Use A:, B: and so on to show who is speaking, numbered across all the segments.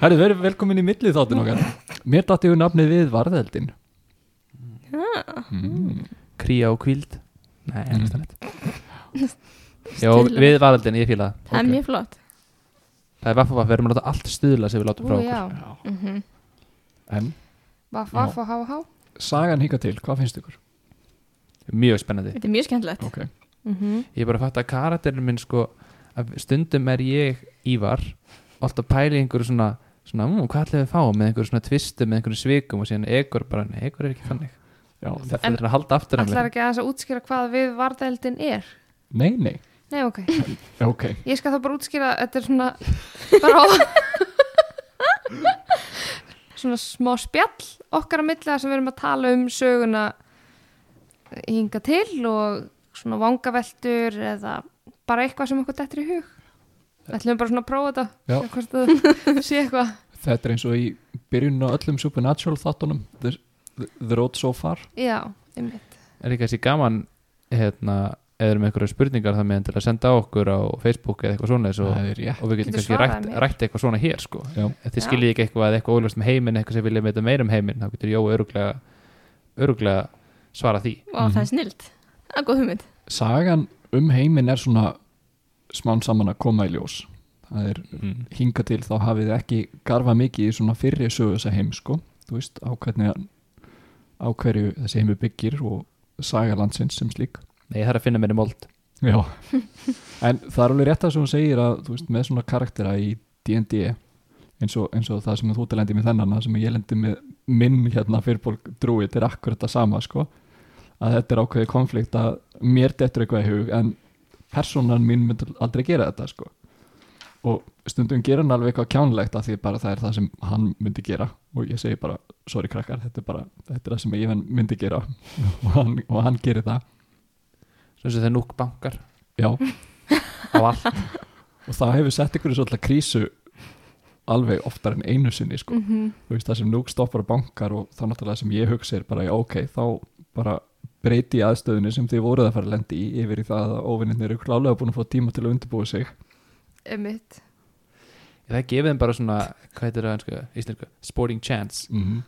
A: Herri, verið velkomin í millið þáttin okkar Mér dætti hún nafnið við varðeldin mm.
B: Kría og kvíld Nei,
A: Mm.
B: mm. ekki Já, við varaldin, ég fíla það.
C: Það er mjög flott
B: Það er vaff og vaff, við erum að láta allt stuðla sem við látum frá
D: Ú,
B: okkur
D: já.
A: Já.
C: Mhm.
A: En
D: Vaff, vaff og há, há.
A: sagan hinga til, hvað finnst ykkur?
B: Mjög spennandi
C: Þetta er mjög skemmtilegt
A: Ok,
D: Mhm.
B: Ég er bara að fatta að karakterinn minn sko að stundum er ég Ívar og alltaf pæli einhverju svona, svona mmm, hvað ætlum við að fá með einhverju svona tvistum með einhverju svikum og síðan Egor bara, nei, Egor er ekki þannig
A: já, það,
B: Það er að halda aftur af mér.
D: Ætlar ekki aðeins að útskýra hvað við varðeldin er?
A: nei, nei,
D: Nei, ok.
A: ok
D: Ég skal þá bara útskýra, þetta er svona, bara á, svona smá spjall okkar að milla sem við erum að tala um söguna hinga til og svona vangaveltur eða bara eitthvað sem okkur dettur í hug. Ætlum við bara svona að prófa þetta,
A: Já.
D: sjá hvort það sé eitthvað.
A: Þetta er eins og í byrjun á öllum Supernatural þáttunum The, the Road So Far
D: Já, einmitt.
B: er ekki þessi gaman hérna, eða með einhverju spurningar það meðan til að senda á okkur á Facebook eða eitthvað svona og,
A: Það er rétt
B: og við getum
D: Getur
B: kannski
D: svarað
B: rætt,
D: mér.
B: rætt eitthvað svona hér sko.
A: Já.
B: ef þið
D: Já.
B: skiljið ekki eitthvað eða eitthvað ólöst um heiminn eitthvað sem vilja meita meira um heiminn þá getur Jói öruglega, öruglega svara því
C: Vá, það er snilt Það er góð hugmynd
A: Sagan um heiminn er svona smán saman að koma í ljós Það er
B: mm.
A: hinga til þá hafið þið ekki garfa mikið í svona fyrri sögu þessa heim sko, þú veist á hvernig hann- á hverju þessi heimu byggir og sagalandsins sem slík
B: Nei, það er að finna mér í mold
A: Já En það er alveg rétt að sem hún segir að þú veist, með svona karaktera í D&D eins og, eins og það sem þú lendi með þennan það sem ég lendi með minn hérna fyrrbólk drúi, þetta er akkur þetta sama sko að þetta er ákveði konflikt að mér dettur eitthvað í hug en persónan mín myndi aldrei gera þetta sko og stundum gera hann alveg eitthvað kjánlegt af því bara það er það sem hann myndi gera og ég segi bara, sorry krakkar, þetta er bara þetta er það sem ég myndi gera og hann, og hann gerir það,
B: sem sem þeir núk bankar
A: já
B: á allt
A: og það hefur sett ykkur í svolítið krísu alveg oftar en einu sinni sko.
D: Mm
C: Mhm.
D: -hmm.
A: þú veist það sem núk stoppar og bankar og það náttúrulega sem ég hugsa er bara já, ok, þá bara breyti ég aðstöðunni sem þið voruð að fara að lendi í yfir í það að óvinnirni eru klálega búin að fá tíma til að undirbúa sig
D: Einmitt.
B: það gefið þeim bara svona, hvað heitir það ensku, íslensku, sporting chance
A: mm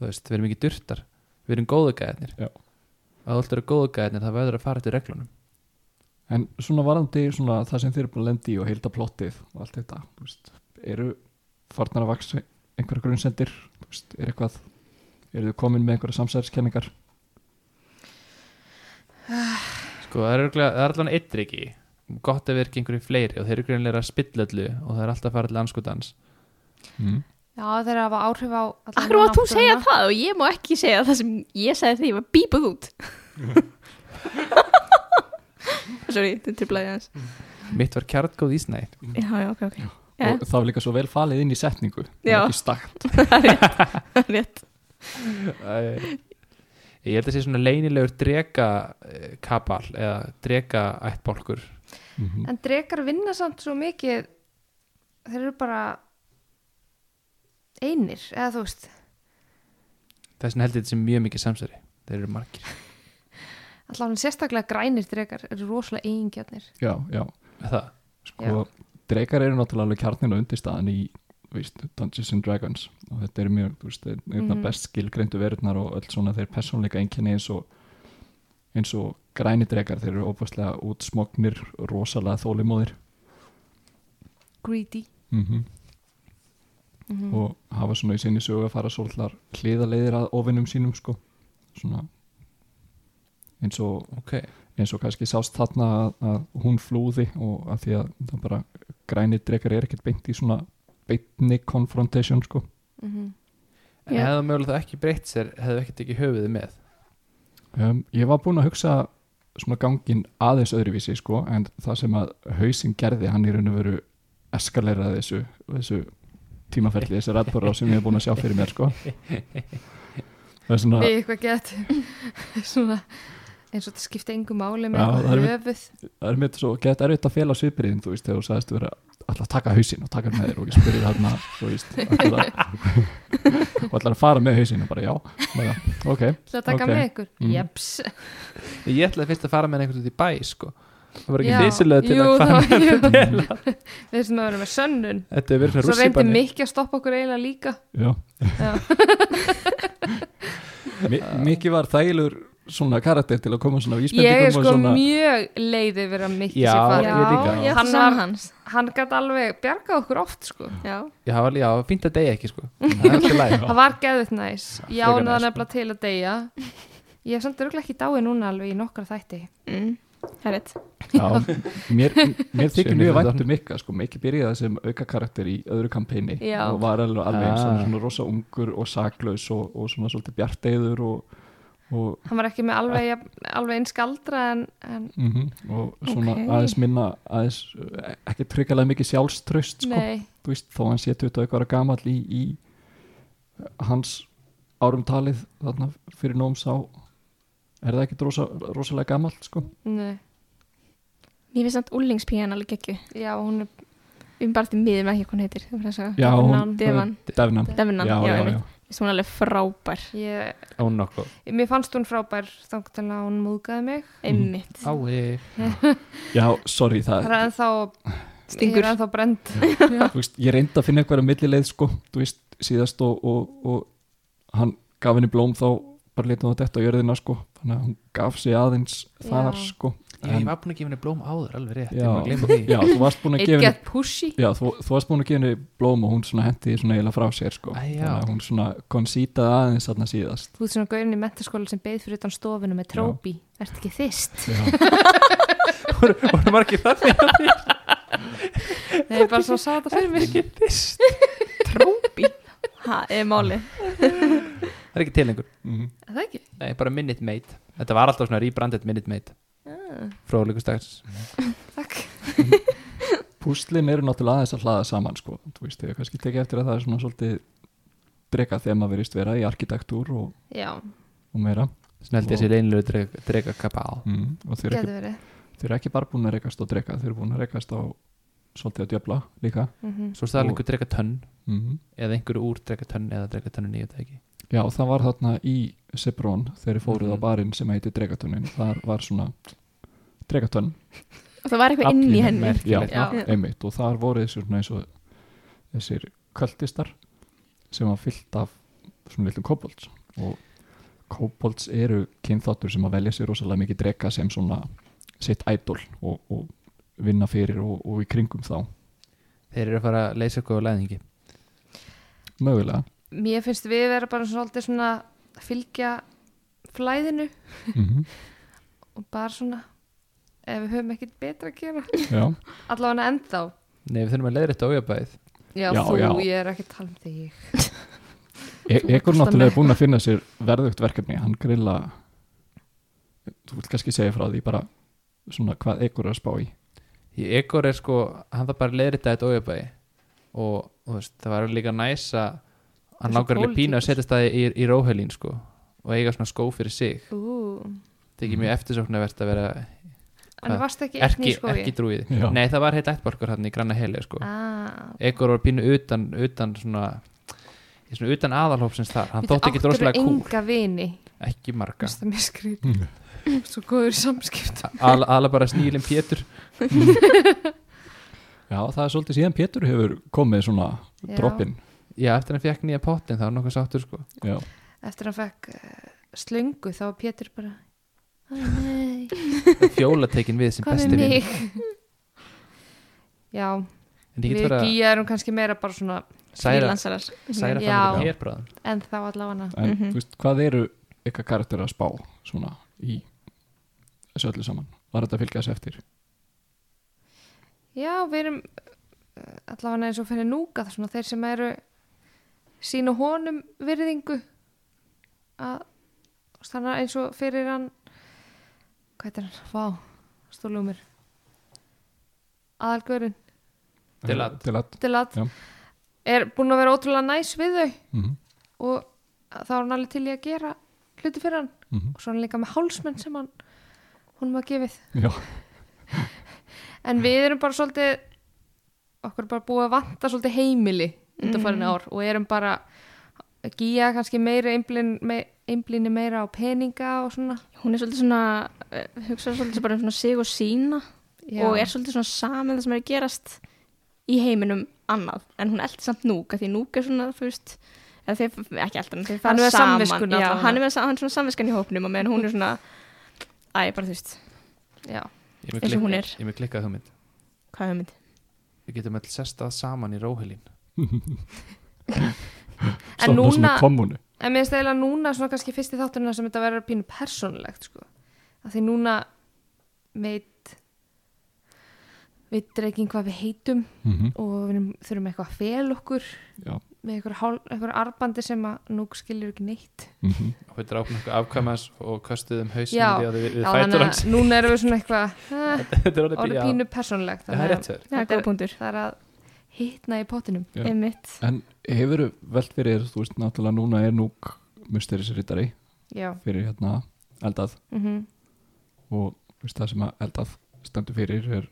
B: þú veist, við erum ekki durtar við erum góðu gæðnir
A: Já.
B: að þú eru góðu gæðnir það verður að fara eftir reglunum
A: en svona varandi svona, það sem þið eru búin að lendi í og heilda plottið og allt þetta þú veist, eru farnar að vaksa einhverja grunnsendir þú veist, er eitthvað eru þið komin með einhverja samsæðiskenningar
B: Sko, það er, örugglega- það er allan eitri ekki gott ef við ekki einhverju fleiri og þeir eru greinlega að spilla öllu og það er alltaf að fara til anskotans
A: mm.
D: Já, þeir hafa áhrif á alla
C: Akkur má þú
D: náttúruna.
C: segja það og ég má ekki segja það sem ég segði þegar ég var bípuð út Sorry, þetta tripplaði aðeins
B: mitt var kjartgóð ísnæ
C: Já, Mm. já, ok, ok Já,
A: og það var líka svo vel falið inn í setningu Það er
C: Já.
A: ekki stakt
C: það er rétt, það er rétt.
B: ég held að sé svona leynilegur drega eh, kapal eða drega ættbólkur
A: Mhm.
D: En drekar vinna samt svo mikið þeir eru bara einir, eða þú veist
B: þess vegna held ég þetta sem mjög mikið samsæri þeir eru margir
D: allavega sérstaklega grænir drekar eru rosalega eigingjarnir
A: Já, já,
B: Er það,
A: sko dreikar eru náttúrulega alveg kjarnin og undirstaðan í víst, Dungeons and Dragons og þetta eru mjög, þú veist, þeir eru mm
D: Mhm.
A: best skilgreindu verðnar og öll svona þeir persónleika einkenni eins og eins og græni dreikar, þeir eru óbúslega útsmognir, rosalega þólimóðir
D: greedy
A: mm og hafa svona í sinni sögu að fara svolítlar hliðaleiðir að ofinnum sínum sko, svona eins og
B: ok
A: eins og kannski sást þarna að, að hún flúði og að því að það bara grænir drekar er ekkert beint í svona beintni confrontation sko
B: en
C: Mhm. Já.
B: hefðu mögulega það ekki breytt sér hefðu ekkert ekki höfuðið með
A: um, ég var búinn að hugsa svona gangin aðeins öðruvísi sko en það sem að hausinn gerði hann í raun og veru eskalera þessu, þessu tímaferli, þessi ræðbara sem ég er búinn að sjá fyrir mér sko það er svona
D: eitthvað gett svona eins og þetta skipta engu máli með
A: Já, það
D: eitthvað
A: er
D: höfuð
A: það er mér svo gett erfitt að fela svipriðin þú veist, þegar þú sagðist að vera alltaf að taka hausinn og taka hann með þér og ég spurði þarna þú veist, ætlar að, og ætlar að fara með hausinn og bara já, bara, ok
D: til að taka
A: Ok.
D: með ykkur
A: Mhm.
D: jeps
B: ég ætlaði fyrst að fara með einhvern út í bæ sko það var
D: Já.
B: ekki lýsilega til
D: Jú,
B: að
D: það var- jú.
B: hvað með
D: við sem að vera með sönnun
B: Þetta er verið
D: svo
B: svona
D: reyndi
B: rússipanir
D: mikið að stoppa okkur eiginlega líka
A: Já.
D: Já.
A: Mi mikið var þægilegur svona karakter til að koma svona á
D: ég
A: íspendingum
D: er sko
A: og svona
D: mjög leið yfir að mikið
B: Já,
D: sé
B: ég
D: farið
B: líka.
C: ég
D: Hann
C: ætla saman
D: var-
C: hans
D: hann gæti alveg bjargað okkur oft sko
C: já,
B: Já, það var- já, fínt að deyja ekki sko Það er alltaf læg
D: það var geðvitt næs ég
B: frekar næs, sko.
D: ánaði nefnilega til að deyja ég hef samt örgulega ekki dáið núna alveg í nokkra þætti
C: mm, það er rétt
A: mér, mér þykir
B: Sjöfnir
A: mjög
B: fyrir
A: vænt um Mikka sko, Mikki byrjaði sem auka karakter í öðru kampéni
D: Já.
A: og var alveg, alveg eins,
B: Ah.
A: hann var svona rosa ungur og saklaus og, og svona svolítið bjarteyður og, og,
D: hann var ekki með alveg, jafn- alveg eins skaldra en, en
A: mm og svona
C: Ok.
A: aðeins minna aðeins, eh, ekki tryggalega mikið sjálfströst sko,
D: nei,
A: þú veist, þó hann sé 20 og eitthvað gamall í, í hans árum talið þarna fyrir nóms á er það ekki rosa, rosalega gamall sko
D: nei
C: mér finnst samt úlingspíjan alveg geggju
D: já, hún er
C: við bara til miður með ekki hvað hún heitir þú verður að segja.
A: Já,
C: Devnan,
A: hún-
C: Devan,
A: Devnan,
C: Devnan,
A: já,
C: já,
A: já,
C: einmitt.
A: já.
C: Mér finnst hún alveg frábær
D: ég,
B: Án nokkuð
D: mér fannst hún frábær þangt að hún múðgaði mig
C: einmitt
B: Ái
A: já, sorry, það
D: það er ennþá
C: Stingur.
D: ég er ennþá brend
A: þú veist, ég reyndi að finna eitthvað að millileið sko, þú veist, síðast og, og, og hann gaf henni blóm þá bara letum það þetta á jörðina sko þannig að hún gaf sig aðeins þar
D: Já.
A: sko
B: Ég var búin að gefa henni blóm áður, alveg rétt Ég
A: Já.
B: var að gleyma því
A: já, þú varst búin að
D: eitt
A: gefa henni
D: gett pushy
A: já, þú, þú varst búin að gefa henni blóm og hún svona hendi því svona eiginlega frá sér sko
B: Æ, já.
A: þannig að hún svona konsítaði aðeins þarna síðast
D: þú ert svona gaurinn í mentaskóla sem beð fyrir utan stofinu með trópi ert ekki þist
B: Voru voru margir þannig að því
D: Nei, ég bara svo sá þetta fyrir mér
B: Fyrst.
C: trópi það er máli
B: Það er ekki til lengur
A: Mhm.
D: Er Það ekki?
B: Nei, bara Minute Maid Þetta var alltaf svona rebranded Minute Maid Fróðleikustakars
D: Takk.
A: Púslin eru náttúrulega aðeins að hlaða saman sko. þú veist, þegar kannski tekið eftir að það er svona svolítið breka þema verist vera í arkitektúr og,
D: Já,
A: og meira
B: Snældi þessi leynilegu dreg- drega kappa á
A: mm, og þeir ekki,
D: getur verið.
A: þeir eru ekki bara búin að rekast og dreka þeir eru búin að rekast á svolítið að djöfla líka
D: Mm
B: Svo staðlingu drega tönn
A: mm.
B: Eða einhverju úr drega tönn Eða drega tönnun í þetta ekki
A: Já, það var þarna í Sibrón þegar þeir fóruð
B: Mhm.
A: á barinn sem heiti Dregatunnin þar var svona Dregatönn
C: og það var eitthvað inn í
A: Aflinn
C: henni
B: merkilegt.
A: já,
D: Já.
A: einmitt og þar voru þessir svona eins og þessir kvöldistar sem var fyllt af svona lillum kobolds og kobolds eru kynþáttur sem að velja sér rosalega mikið drega sem svona sitt ædol og, og vinna fyrir og, og í kringum þá
B: Þeir eru að fara að leysa eitthvað á læðingi
A: mögulega
D: Mér finnst við vera bara svolítið svona að fylgja flæðinu
A: mm
D: og bara svona ef við höfum ekkert betra að gera.
A: já,
D: Allavega ennþá.
B: Nei, við þurfum að leiðra þetta ójabæð
D: Já,
A: Já,
D: þú,
A: já.
D: ég er ekki að tala um þig.
A: e
D: Þú
A: Ekur
D: ert að
A: náttúrulega
D: með-
A: er búin að finna sér verðugt verkefni, hann grilla þú vilt kannski segja frá því bara svona hvað Ekur er að spá í
B: Því Egor er sko, hann þarf bara að leiðrita þetta ójöfbæði og þú veist, það var líka næs að
D: er
B: hann
D: svo
B: langar alveg pínu að setja staði í, í róhelín sko og eiga svona skó fyrir sig
D: Ú,
B: þykir mjög eftirsóknarvert að vera
D: en
B: Hvað?
D: varst ekki einn
B: erki,
D: í skói?
B: erki drúið
A: Já.
B: Nei, það var heitt ættborkur hann í granna heli sko.
D: Ah,
B: Egor var pínu utan, utan svona í svona utan aðalhópsins þar hann þótti ekki droslega
D: Þú
B: kúl,
D: áttur enga vini.
B: ekki marga
D: Vist það mér skrýt.
B: Mm.
D: Svo góður í samskiptum.
B: Al, ala bara snílinn Pétur
A: Já, það er svolítið síðan Pétur hefur komið svona
D: Já.
A: droppin
B: Já, eftir hann fekk nýja pottin þá var nokkuð sáttur sko
A: Já,
D: Eftir að hann fekk uh, slöngu þá var Pétur bara, "Æ, nei,
B: Fjóla tekin við sem
D: hvað
B: besti
D: með
B: vin.
D: mig? Já,
B: En ég
D: við
B: get bara
D: gíja erum kannski meira bara svona
B: særa,
C: frílansarar
B: særa
D: Já.
B: fann hér bráðum
D: en þá allavega
A: en
C: Mhm.
A: þú veist, hvað eru eitthvað karakter að spá svona í þessu öllu saman? Var þetta að fylgja þessu eftir?
D: Já, við erum uh, allavega eins og fyrir núka það er svona þeir sem eru sínu honum virðingu að stanna eins og fyrir hann hvað er hann? Vá, stólum mér aðalgörinn
B: Dilat.
A: Dilat
D: til að
A: Já.
D: er búin að vera ótrúlega næs við þau
A: mm
D: og þá er hann alveg til í að gera hluti fyrir hann
A: -hmm.
D: og svo er hann líka með hálsmenn sem hann hún maður gefið
A: Já,
D: en við erum bara svolítið okkur er bara búið að vanta svolítið heimili undanfærin ár og erum bara að gíja kannski meira einblin, me, einblini meira á peninga og svona
C: hún er svolítið svona eh, hugsar svolítið bara um svona sig og sína og er svolítið svona saman það sem er að gerast í heiminum annað en hún eldi samt núk að því núk er svona þú veist eða þeir, ekki eldan, þeir
D: Hann er
C: fara
D: með
C: saman
D: samviskuna
C: já,
D: allavega.
C: hann er með hann er svona samviskan í hópnum og meðan hún er svona æ, bara þú veist,
D: já,
B: Ég er með
C: Eins og
B: klikk-
C: hún er.
B: Ég er með klikkað hugmynd
C: hvað hefur mynd
B: Við getum allir sestað saman í róhelín
A: Stofna
D: núna-
A: svona kommunu
D: en mér finnst eiginlega núna svona kannski fyrst í þátturinn þar sem þetta verður pínu persónulegt sko. af því núna veit veit reygin hvað við heitum
A: mm
D: og við þurfum eitthvað að fel okkur
A: Já.
D: með eitthvað, hál, eitthvað arbandi sem að núk skilur ekki neitt
A: Mhm.
B: og við drápum eitthvað afkvæmans og köstuðum hausnum
D: Já.
B: því að við, við
D: Já,
B: fætur
D: þannig
B: hans
D: að núna erum við svona eitthvað eh,
B: Þetta er orðið pínu-
D: orðið
B: já.
D: pínu
B: Já,
D: persónulegt
B: Það
D: þannig
B: er
D: að
B: rétt hjá þér.
C: það er
D: Þetta
C: góð punktur,
D: það er að hitna í pottinum
A: Já.
C: einmitt
A: En hefur velt fyrir, þér, þú veist, náttúrulega núna er núk musterisrittari
D: já,
A: fyrir hérna eldað
D: mm
A: og þú veist, það sem að eldað stendur fyrir er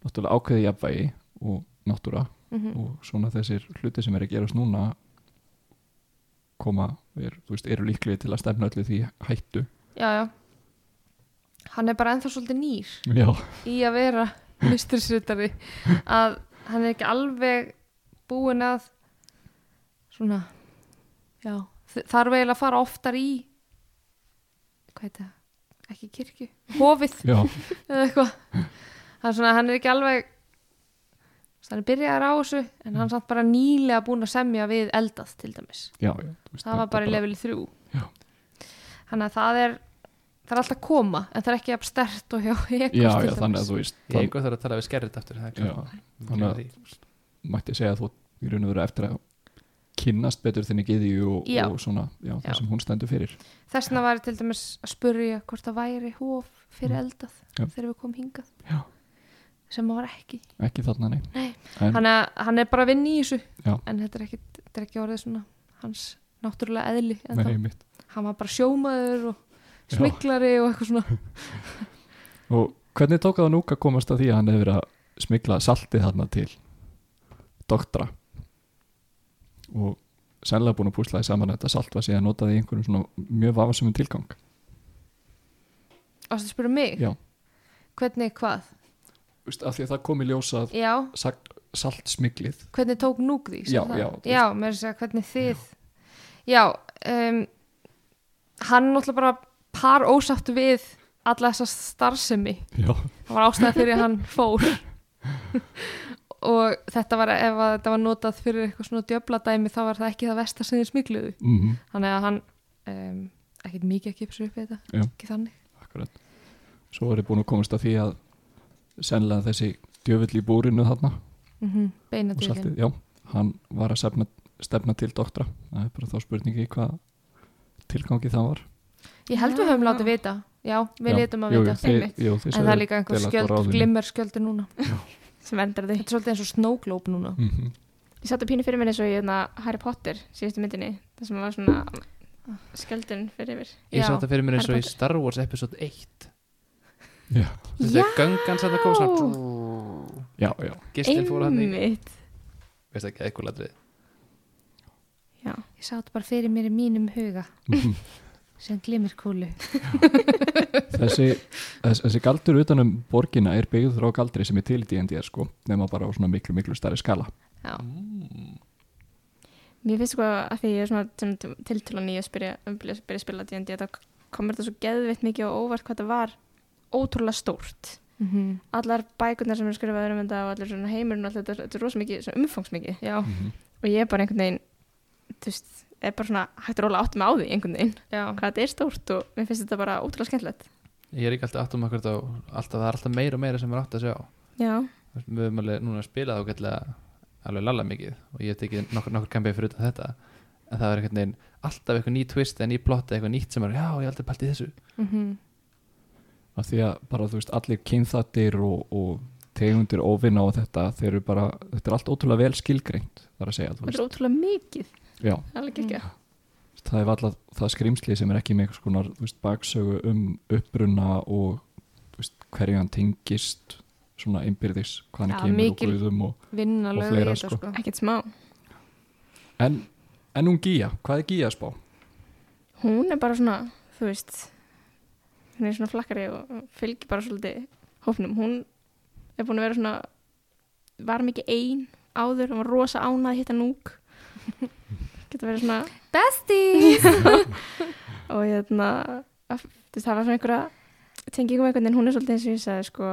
A: náttúrulega ákveðið jafnvægi og náttúra
D: Mhm.
A: og svona þessir hluti sem er að gerast núna koma, er, þú veist, eru líklega til að stefna öllu því hættu
D: já, já hann er bara ennþá svolítið nýr
A: Já,
D: í að vera mistrisrittari að hann er ekki alveg búin að svona já, þ- þarf eiginlega að fara oftar í hvað heit það? ekki kirkju, hofið
A: já,
D: eða eitthvað hann, svona, hann er ekki alveg hann er byrjaðar á þessu en hann samt bara nýlega búin að semja við eldað til dæmis
A: já, já þú veist,
D: það var bara í level 3
A: Já.
D: þannig að það er það er alltaf að koma en það er ekki jafn stert og hjá Egos
A: Já,
D: til
A: já,
D: dæmis.
A: þannig að þú veist
B: Ég
A: þannig
B: einhver þarf að tala við skerrit aftur Það er
A: Já.
B: klart. Ég
A: Þannig að-
B: gleymi því.
A: mætti segja að þú í raun og veru eftir að kynnast betur þinni gyðju og,
D: Já.
A: og svona, já,
D: Já.
A: það sem hún stendur fyrir
D: þess vegna var ég til dæmis að spurja hvort það væri hóf fyrir
A: Mm.
D: eldað
A: Já.
D: þegar við komum hingað
A: Já.
D: sem það var ekki
A: ekki þarna, nei,
D: Nei.
A: En,
D: hann er, hann er bara að vinna í þessu
A: Já.
D: en þetta er ekki, þetta er ekki orðið svona hans náttúrulega eðli en
A: nei, mitt
D: hann var bara sjómaður og
A: Já.
D: smiklari og eitthvað svona
A: og hvernig tók það núka komast að því að hann hefur verið að smikla saltið þarna til doktra og sennilega búin að púslaði saman að þetta salt var síðan notað í einhverjum svona mjög vafasumum tilgang
D: og það spurði mig,
A: já,
D: hvernig hvað
A: Þú veist, af því að það kom í ljósa
D: já,
A: salt smiklið
D: hvernig tók núk því sem
A: Já,
D: það-
A: já, þú veist.
D: já, mér er að segja hvernig þið já, um, hann náttúrulega bara par ósátt við alla þessa starfsemi
A: já,
D: það var ástæða fyrir að hann fór og þetta var ef að þetta var notað fyrir eitthvað svona djöfladæmi þá var það ekki það versta sem þið smikluðu
A: mm
D: þannig að hann um, ekkert mikið að kipa sér upp við þetta
A: Já.
D: ekki þannig
A: akkurat svo er ég búin að komast að því að sennilega þessi djöfull í búrinu þarna
D: mm -hmm. beina
A: og
D: djöflin
A: saltið, já, hann var að stefna, stefna til doktra, það er bara þá spurningi hvað tilgangi það var
D: hérna. ég held við höfum
C: Já.
D: látið vita já, við
A: Já,
D: letum að
A: jú,
D: vita
A: jú, þið-
C: einmitt.
A: jú, þið
D: en það er
A: sögðu-
D: líka einhver
A: deila þetta á
D: skjöld,
A: ráðinu.
D: glimmer skjöldur núna
C: sem vendar þau
D: Þetta er svolítið eins og snóglóp núna.
A: Mhm.
C: Ég satt að pínu fyrir mér eins og í hérna, Harry Potter síðustu myndinni, það sem var svona skjöldin fyrir yfir
B: Ég
D: Já.
B: sá þetta fyrir mér eins og
C: Harry
B: í
C: Potter.
B: Star Wars episode 1
A: Já,
B: Þetta er gangan sem það kom svona
A: já, já,
B: Gistinn fór hann í
C: Einmitt.
B: Veist ekki eitthvað ladrið
C: Já,
D: Ég sá þetta bara fyrir mér í mínum huga
A: Mhm.
D: sem glimir kúlu.
A: þessi, þess, þessi galdur utanum borgina er byggður á galdri sem er til í D&D sko, nema bara á svona miklu, miklu stærri skala
D: Já.
C: mér finnst sko að því ég er svona, svona tiltölan í að spyrja, að byrja að byrja að spila D&D þá komur þetta svo geðvitt mikið og óvart hvað þetta var ótrúlega stórt
D: Mm
C: allar bækurnar sem eru skrifaður um þetta og allir svona heimurinn og allt þetta, þetta er rosa mikið, svona umfangsmikið
D: Já.
C: og ég er bara einhvern veginn þú veist, er bara svona hægt að róla áttum á því einhvern veginn,
D: Já.
C: hvað þetta er stórt og mér finnst þetta bara ótrúlega skemmtilegt
B: Ég er ekki alltaf áttum akkur á alltaf, Það er alltaf meira og meira sem er átt að sjá
C: Já,
B: Við höfum alveg núna að spila þá gætlega alveg lalla mikið og ég hef tekið nokkur, nokkur kampið fyrir utan þetta en það er einhvern veginn alltaf eitthvað ný twist eða ný plott eða eitthvað nýtt sem er já, ég hef aldrei pælt í þessu
D: Mm
A: af því að bara, þú veist, allir kynþattir og, og tegundir óvinna á þetta þeir eru bara, þetta er allt ótrúlega vel skilgreint þar að segja, þú
C: þetta er
A: veist,
C: ótrúlega mikið
A: já
C: alveg ekki mm.
A: það er alltaf það skrýmsli sem er ekki með einhvers konar, þú veist, baksögu um uppruna og, þú veist, hverju hann tengist svona innbyrðis, hvað hann
D: Já,
A: kemur
D: mikil-
A: og guðum og,
D: Vinna
A: Og
D: lögur
A: fleira,
D: í þetta
A: sko.
D: sko.
C: ekkert smá
A: en, en hún Gía, hvað er Gía að spá?
C: hún er bara svona, þú veist hún er svona flakkari og fylgir bara svolítið hófnum, hún er búin að vera svona var mikið ein áður og var rosa ánað að hitta núk geta verið svona
D: besties
C: og hérna af- þú veist, það var svona einhverja tengingum einhvern veginn, hún er svolítið eins og ég sagði sko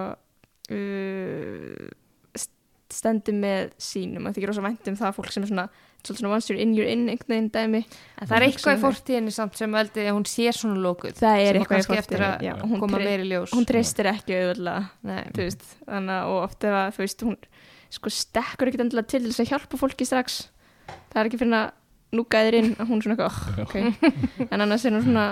C: uh, st- stendur með sínum og þykir rosa vænt um það fólk sem er svona svolítið svona once you're in, you're in einhvern veginn dæmi
D: en það er eitthvað í fortíðinni samt sem veldi að hún sér svona lókuð
C: það er
D: Sem að
C: eitthvað í
D: kannski eftir
C: fortíðinni,
D: að
C: já, og hún,
D: koma
C: tre
D: meir í ljós
C: hún treystir ekki auðvitað
D: Nei.
C: þú veist, þannig að og oft ef að þú veist, hún sko stekkur ekkert endilega til þess að hjálpa fólki strax það er ekki fyrir að núkaðir inn að hún svona eitthvað, oh, ok en annars er hún svona,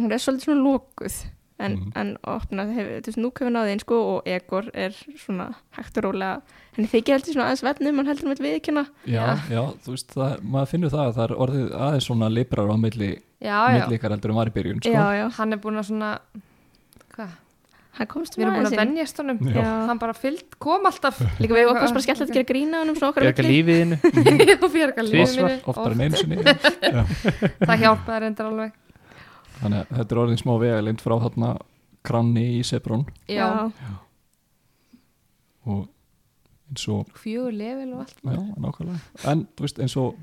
C: hún er svolítið svona lókuð en,
A: Mhm.
C: en opna, hef, þú veist, núk hefur náðið einn sko og Egor er svona hægt og rólega, henni þykir heldur svona aðeins vennum, hann heldur um hann veit viðkynna
A: já, já, þú veist, það, maður finnur það að það er orðið aðeins svona librar á milli,
D: já, já,
A: milli ykkar heldur um var í byrjun, sko.
C: já, já,
D: hann er búin að svona hvað,
C: hann komst
D: við erum búin að
C: aðeins inn.
D: vennjast honum
A: Já.
D: hann bara fyllt, kom alltaf
C: líka við okkur bara skellum að gera grína honum svona okkar
B: Bjarga
C: milli.
B: lífiðinu,
D: og bjarga lífinu
B: Tvisvar,
D: mínu.
A: oftar
D: Ó,
A: en einu sinni.
D: það hjálpaði reyndar alveg
A: Þannig að þetta er orðið smá vegalind frá þarna kranni í Sebrón
D: já,
A: og eins og
D: fjögur level og allt
A: Já, nákvæmlega. En, þú veist, eins og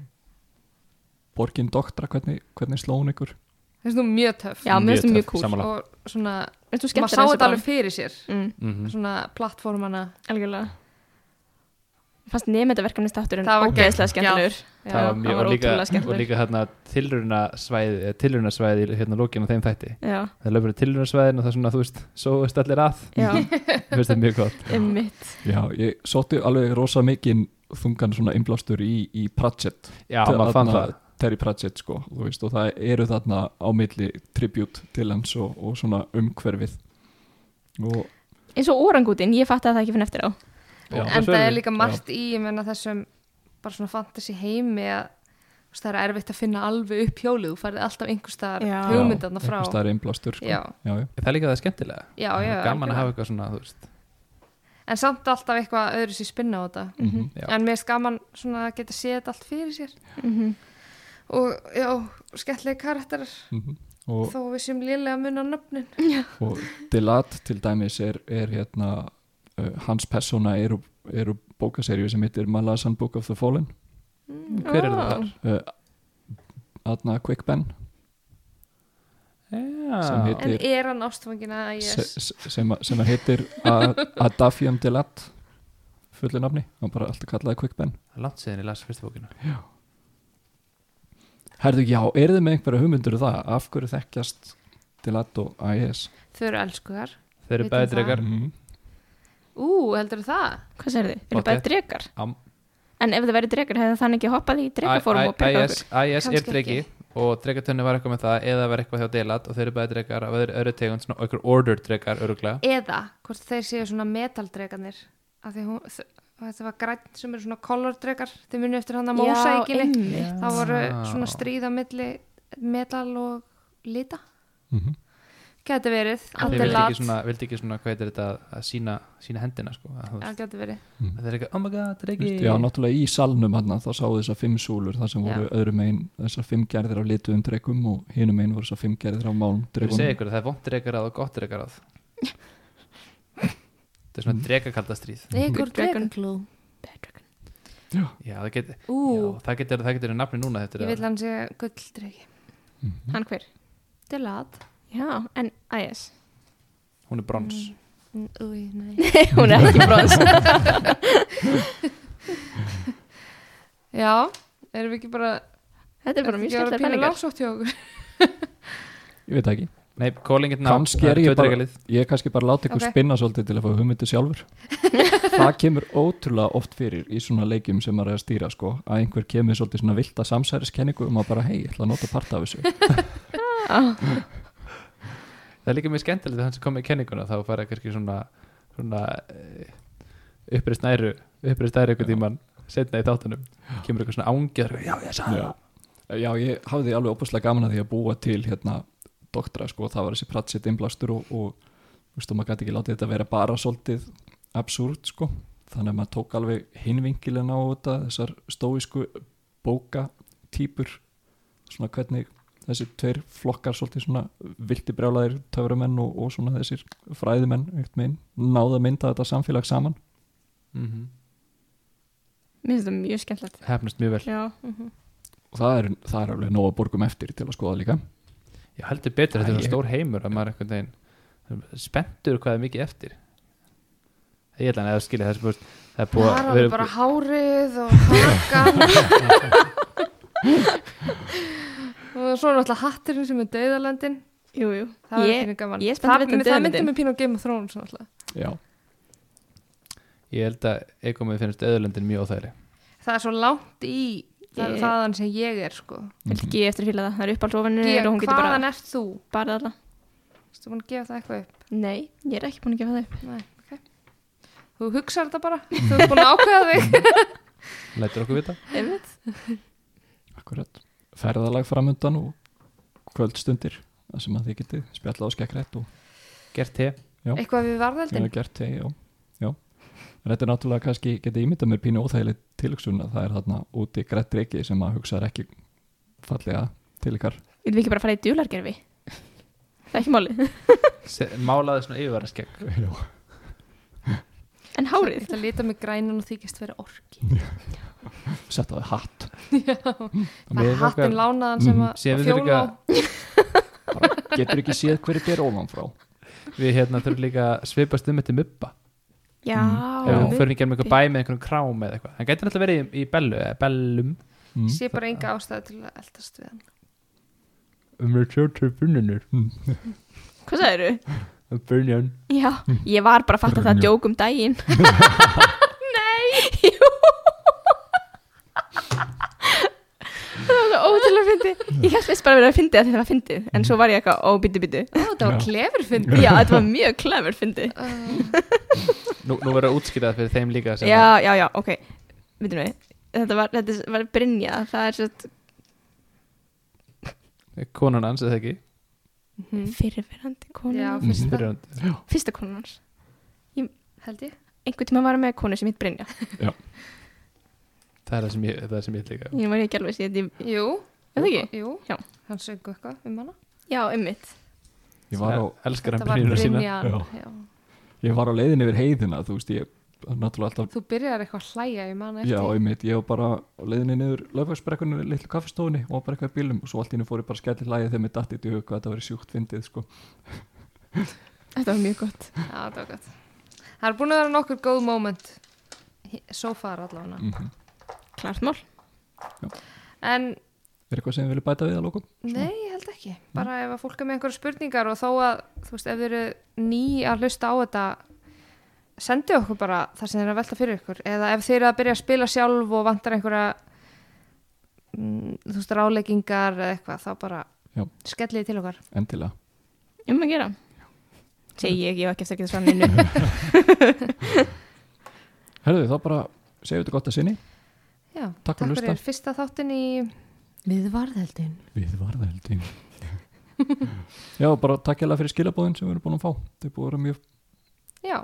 A: borgin doktra, hvernig, hvernig sló hún ykkur?
D: það er svona mjög töff
C: já, mér finnst það mjög
B: töff,
C: cool
B: sammála.
D: og svona,
C: Mér finnst þú
D: maður
C: skemmtileg
D: sá
C: þessi
D: þetta
C: bara.
D: alveg fyrir sér
C: Mm.
B: Mhm.
D: svona plattformana
C: algjörlega fannst nefndaverkefni státturinn
D: Það var gegn-
C: ógeðslega skemmtilegur
B: það var
C: Já,
B: mjög
C: hann var
B: og líka,
C: ótrúlega skemmtilegur.
B: og líka hérna tilrunasvæði tilrunasvæði hérna lókin á þeim þætti
C: já,
B: það löfur tilrunasvæðin og það er svona þú veist sóðust allir að,
C: já,
B: Mér finnst það mjög gott
C: emmitt
A: Já, ég sótti alveg rosa mikinn þungan svona innblástur í, í Pratchett.
B: já, maður fann það
A: Terry Pratchett, sko, þú veist, og það eru þarna á milli tribut til hans og, og svona umhverfið. Og,
C: eins og orangútin, ég fatt að það ekki finn eftir á
B: Já,
D: en
B: svo erum
D: það er
B: við-
D: líka margt í ég menna þessum bara svona fantasy heimi að þú veist, það er erfitt að finna alveg upp hjólið þú færði alltaf einhverstaðar
C: Já.
D: hugmyndarna frá
A: Það er innblástur, sko.
D: já,
A: Já, já.
B: það er líka það skemmtilega
D: já,
B: Það
D: já,
B: er gaman að
D: algjörlega.
B: hafa eitthvað svona þú veist
D: en samt alltaf eitthvað öðru sér spinna á þetta
A: Mm
B: Mhm, já.
D: en mér er gaman svona að geta séð þetta allt fyrir sér
C: Mhm.
D: og já, skemmtlegi karakterar
A: Mhm. Og,
D: þó við séum lélega að muna nöfnin
A: og Dilat til dæmis er, er hérna, uh, hans persóna eru, eru bókaserju sem heitir Malasan Book of the Fallen.
B: Mm, hver er það
C: Ah.
B: þar?
A: Adna Quick Ben
B: Já.
A: Sem heitir-
D: en
A: Þetta
D: er hann ástfangina að yes
A: se- se- sem, að- sem að heitir A- Adafium Delat fullu nafni, hann bara alltaf kallaði Quick Ben
B: Það er langt síðan ég las fyrstu bókina
A: Herðu, já, eru þið með einhverja hugmyndur um það? Af hverju þekkjast E Delat og AES?
D: þau eru elskuðar
B: þeir eru
D: Vitum
B: bæði
D: um það.
B: drekar
D: ú, heldur það?
C: hvað sér þið, eru
B: Pottþétt.
C: bara drekar
B: Am-
C: en ef það væri drekar, hefði þannig ekki hoppað í drekaform og bjargað okkur
B: IS er
D: Kannski
B: dregi og dregatönni var eitthvað með það eða var eitthvað hjá Delat og þeir eru bæði drekar af öðru, öðru tegund svona, og einhver order drekar öruglega
D: eða hvort þeir séu svona metaldregarnir af því hún, þ- þetta var græn sem eru svona kolordregar þið muni eftir hann að mósa ekki
C: einmitt.
D: það voru
B: Já.
D: svona stríð á milli metal og lita
A: Mm -hmm.
D: gæti verið,
B: þeir
D: allt
B: vildi
D: er
B: ekki
D: lat
B: svona, vildi ekki svona hvað heitir þetta að sína, sína hendina sko að, þú veist,
D: það gæti verið
B: það er eitthvað, oh my god, dregi
A: Já, náttúrulega í salnum hann þá sáu þessar fimm súlur þar sem
D: Já.
A: voru öðrum einn þessar fimm gerðir af lituðum dregum og hinum einn voru þessar fimm gerðir af málum
B: Ég vil
A: dregum
B: segja ykkur að það er vond dregarað og gott dregarað Þetta er svona
A: Mm.
B: dregakaldastríð
D: einhver
C: Dragon.
D: dregarklú
C: Bad dragon.
B: Já, það getur
D: ú,
B: já, það getur, það getur nafni núna þetta er
D: ég vil
B: að-
D: hann sé gulldregi
C: hann hver,
D: þetta er lat
C: já, en æs
B: Hún er brons
D: Mm, új, nei.
C: hún er ekki brons
D: já, erum við ekki bara
C: þetta er bara mjög skemmtilega
D: pælingar
C: penningar
D: langsótt hjá okkur
A: Ég veit það ekki,
B: Nei, calling it now
A: Kannski
B: það
A: er ég
B: tvö
A: bara-
B: dregalið.
A: ég er kannski bara að láta ykkur
D: Ok.
A: spinna svolítið til að fá hugmyndu sjálfur það kemur ótrúlega oft fyrir í svona leikjum sem maður er að stýra sko, að einhver kemur svolítið svona vilda samsæriskenningu og maður bara hei, ég ætla að nota part af þessu
B: Það er líka mjög skemmtilegt að hann sem kom með kenninguna þá fara kannski svona, svona eh, uppreist næru uppreist næru einhvern tímann setna í þáttunum kemur eitthvað svona ángjör Já, ég sagði
A: já. já, ég hafði alveg opaslega gaman að því að búa til hérna doktra sko, það var þessi pratsitt innblastur og, og þú veist, og maður gæti ekki látið þetta vera bara svolítið absúrt sko, þannig að maður tók alveg hinvinkilin á þetta, þessar stóisku bóka típur svona hvernig þessi tveir flokkar svolítið svona vilti brjálaðir töframenn og, og svona þessir fræðimenn einhvern veginn, náðu að mynda þetta samfélag saman mm
D: Mm-hmm.
A: -hmm.
C: Mér finnst það mjög skemmtilegt.
B: hefnast mjög vel
C: Já, mhm.
A: og það er, það er alveg nóg að borgum eftir til að skoða líka
B: ég heldur betur að
A: Æ,
B: þetta er
A: ég-
B: svona stór heimur að maður einhvern veginn spenntur hvað er mikið eftir ég held að það skilja það er búið það er búið að
D: Það er alveg
B: vera
D: bara hárið og hakan og svo er náttúrulega hatturinn sem er dauðalandin
C: Jú, jú.
D: það er
C: Ég-
D: pínu gaman
C: ég er spennt að vita
D: það,
C: um
D: það myndi
C: dauðalandinn.
D: mig pínu á Game of Thrones náttúrulega.
A: já,
B: ég held að eitthvað með finnst öðurlöndin mjög óþægri
D: það er svo langt í það,
C: Ég-
D: þaðan sem ég er sko.
B: Mhm.
C: Vildi ekki eftir að fíla það. Það er upp á hrófinu
D: Ég,
C: og hún getur bara,
D: hvaðan ert þú?
C: bara alla.
D: Þú búin að gefa það eitthvað upp
C: Nei, ég er ekki búin að gefa það upp.
D: Nei, okay. þú hugsar þetta bara þú er búin að ákveða þig
B: lætur okkur vita
C: Einmitt.
A: akkurat ferðalag framundan og kvöldstundir það sem að þið getið spjallað á skekkrætt og
B: gert te
D: eitthvað við
A: ég
D: varðaldin
A: hef gert þig, já, já. En Þetta er náttúrulega kannski, getið ímyndað mér pínu óþægileg tilhugsun að það er þarna úti grætt reiki sem að hugsaðar ekki fallega til ykkar.
C: Vildi við ekki bara fara í djúlargerfi? Það er ekki málið.
B: Se- málaði svona yfirvaraskegg
C: En
D: ég
C: hárið?
D: ætla að lita mig grænan og þykist vera orki
A: Setta það hatt.
D: það er hattin lánaðan sem að
B: Síðan
D: að
B: við þurfum
D: fjóla
B: líka-
D: á.
A: Bara, getur ekki séð hverju þér ofan frá.
B: við hérna þurfum líka að svipast um þetta mubba
C: Já.
A: Mm.
B: ef
A: Já.
B: hún fyrir ekki með einhver bæ með einhverjum krám eða eitthvað hann gæti alltaf verið í, í bellu, eða bellum
A: Mm.
D: sé bara enga ástæði til að eldast við hann
B: um að tjóta bunnunur
A: Mm.
C: Hvað það eru?
B: bunnjön
C: Já, ég var bara að fatta það að djók um daginn Nei Jú Það var svo ótrúlega fyndi Ég held veist bara að vera að fyndi að þetta var fyndi En svo var ég eitthvað, ó, byttu, byttu
D: Ó, þetta var
A: Já.
D: klefur fyndi
C: Já, þetta var mjög klemur fyndi
B: nú, nú verður að útskýra það fyrir þeim líka sem
C: Já, já, já, ok Veitum við, þetta var, þetta var Brynja Það er svo
B: konan hans eða ekki
C: fyrirverandi konan
D: Mm. Mhm. Já,
C: hans.
D: fyrsta,
B: Fyrir hann-
C: Fyrsta konan hans
D: held ég
C: Einhvern tíma var hann með konu sem hitt Brynja
B: það er það sem ég, það sem ég líka
C: Ég var ekki alveg sér, ég,
D: Jú,
C: er það ekki?
D: Jú.
C: Já.
D: hann söngu eitthvað um hana
C: Já, ummitt
A: Ég var á,
B: elskar hann
D: var
B: brynjuna sína
D: Brynjan
A: Já.
D: Já.
A: ég var á leiðin yfir heiðina, þú veist, ég náttúrulega alltaf,
D: Þú byrjar eitthvað að hlæja í manna
A: já,
D: eftir
A: einmitt, ég var bara á leiðinni niður löfvegsbrekkunni, litlu kaffestofunni og var bara eitthvað í bílum og svo allt í henni fór ég bara skellir lægið þegar mér dattið í hug hvað þetta verið sjúkt fyndið, sko.
C: Þetta var mjög gott
D: Já, það var gott Það er búin að vera nokkur góð moment Hi- So far allavega
A: Mm
C: Klart mál
D: En
A: Er eitthvað sem við viljum bæta við að lókum?
D: nei, ég held ekki Bara ef að fólk er með einhverja spurningar og þó að, þú veist, ef þið eru ný að hlusta á þetta sendi okkur bara það sem þið er að velta fyrir ykkur eða ef þið eru að byrja að spila sjálf og vantar einhverja mm, þú veist, ráleggingar eða eitthvað, þá bara
A: Já.
D: skellið til okkar
A: Endilega.
C: Um að gera Segji ég, ég var ekki eftir að geta svarað neinu
A: Herðu, þá bara segjum við þetta gott að sinni.
D: Já,
A: Takk fyrir að
D: fyrir
A: hlusta.
D: fyrsta þáttin í Viðvarðeldin
A: Við varðahelding. Já, bara takk hérlega fyrir skilabóðin sem við erum búin að fá. Þau búið að vera mjög,
D: Já,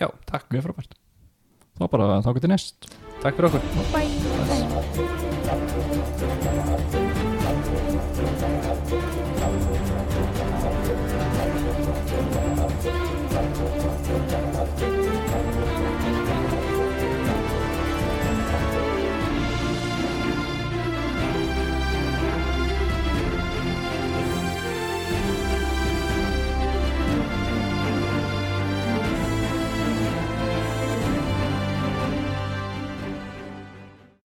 B: já, takk,
A: mjög frábært. Þá bara þá getur næst.
B: takk fyrir okkur
D: bæ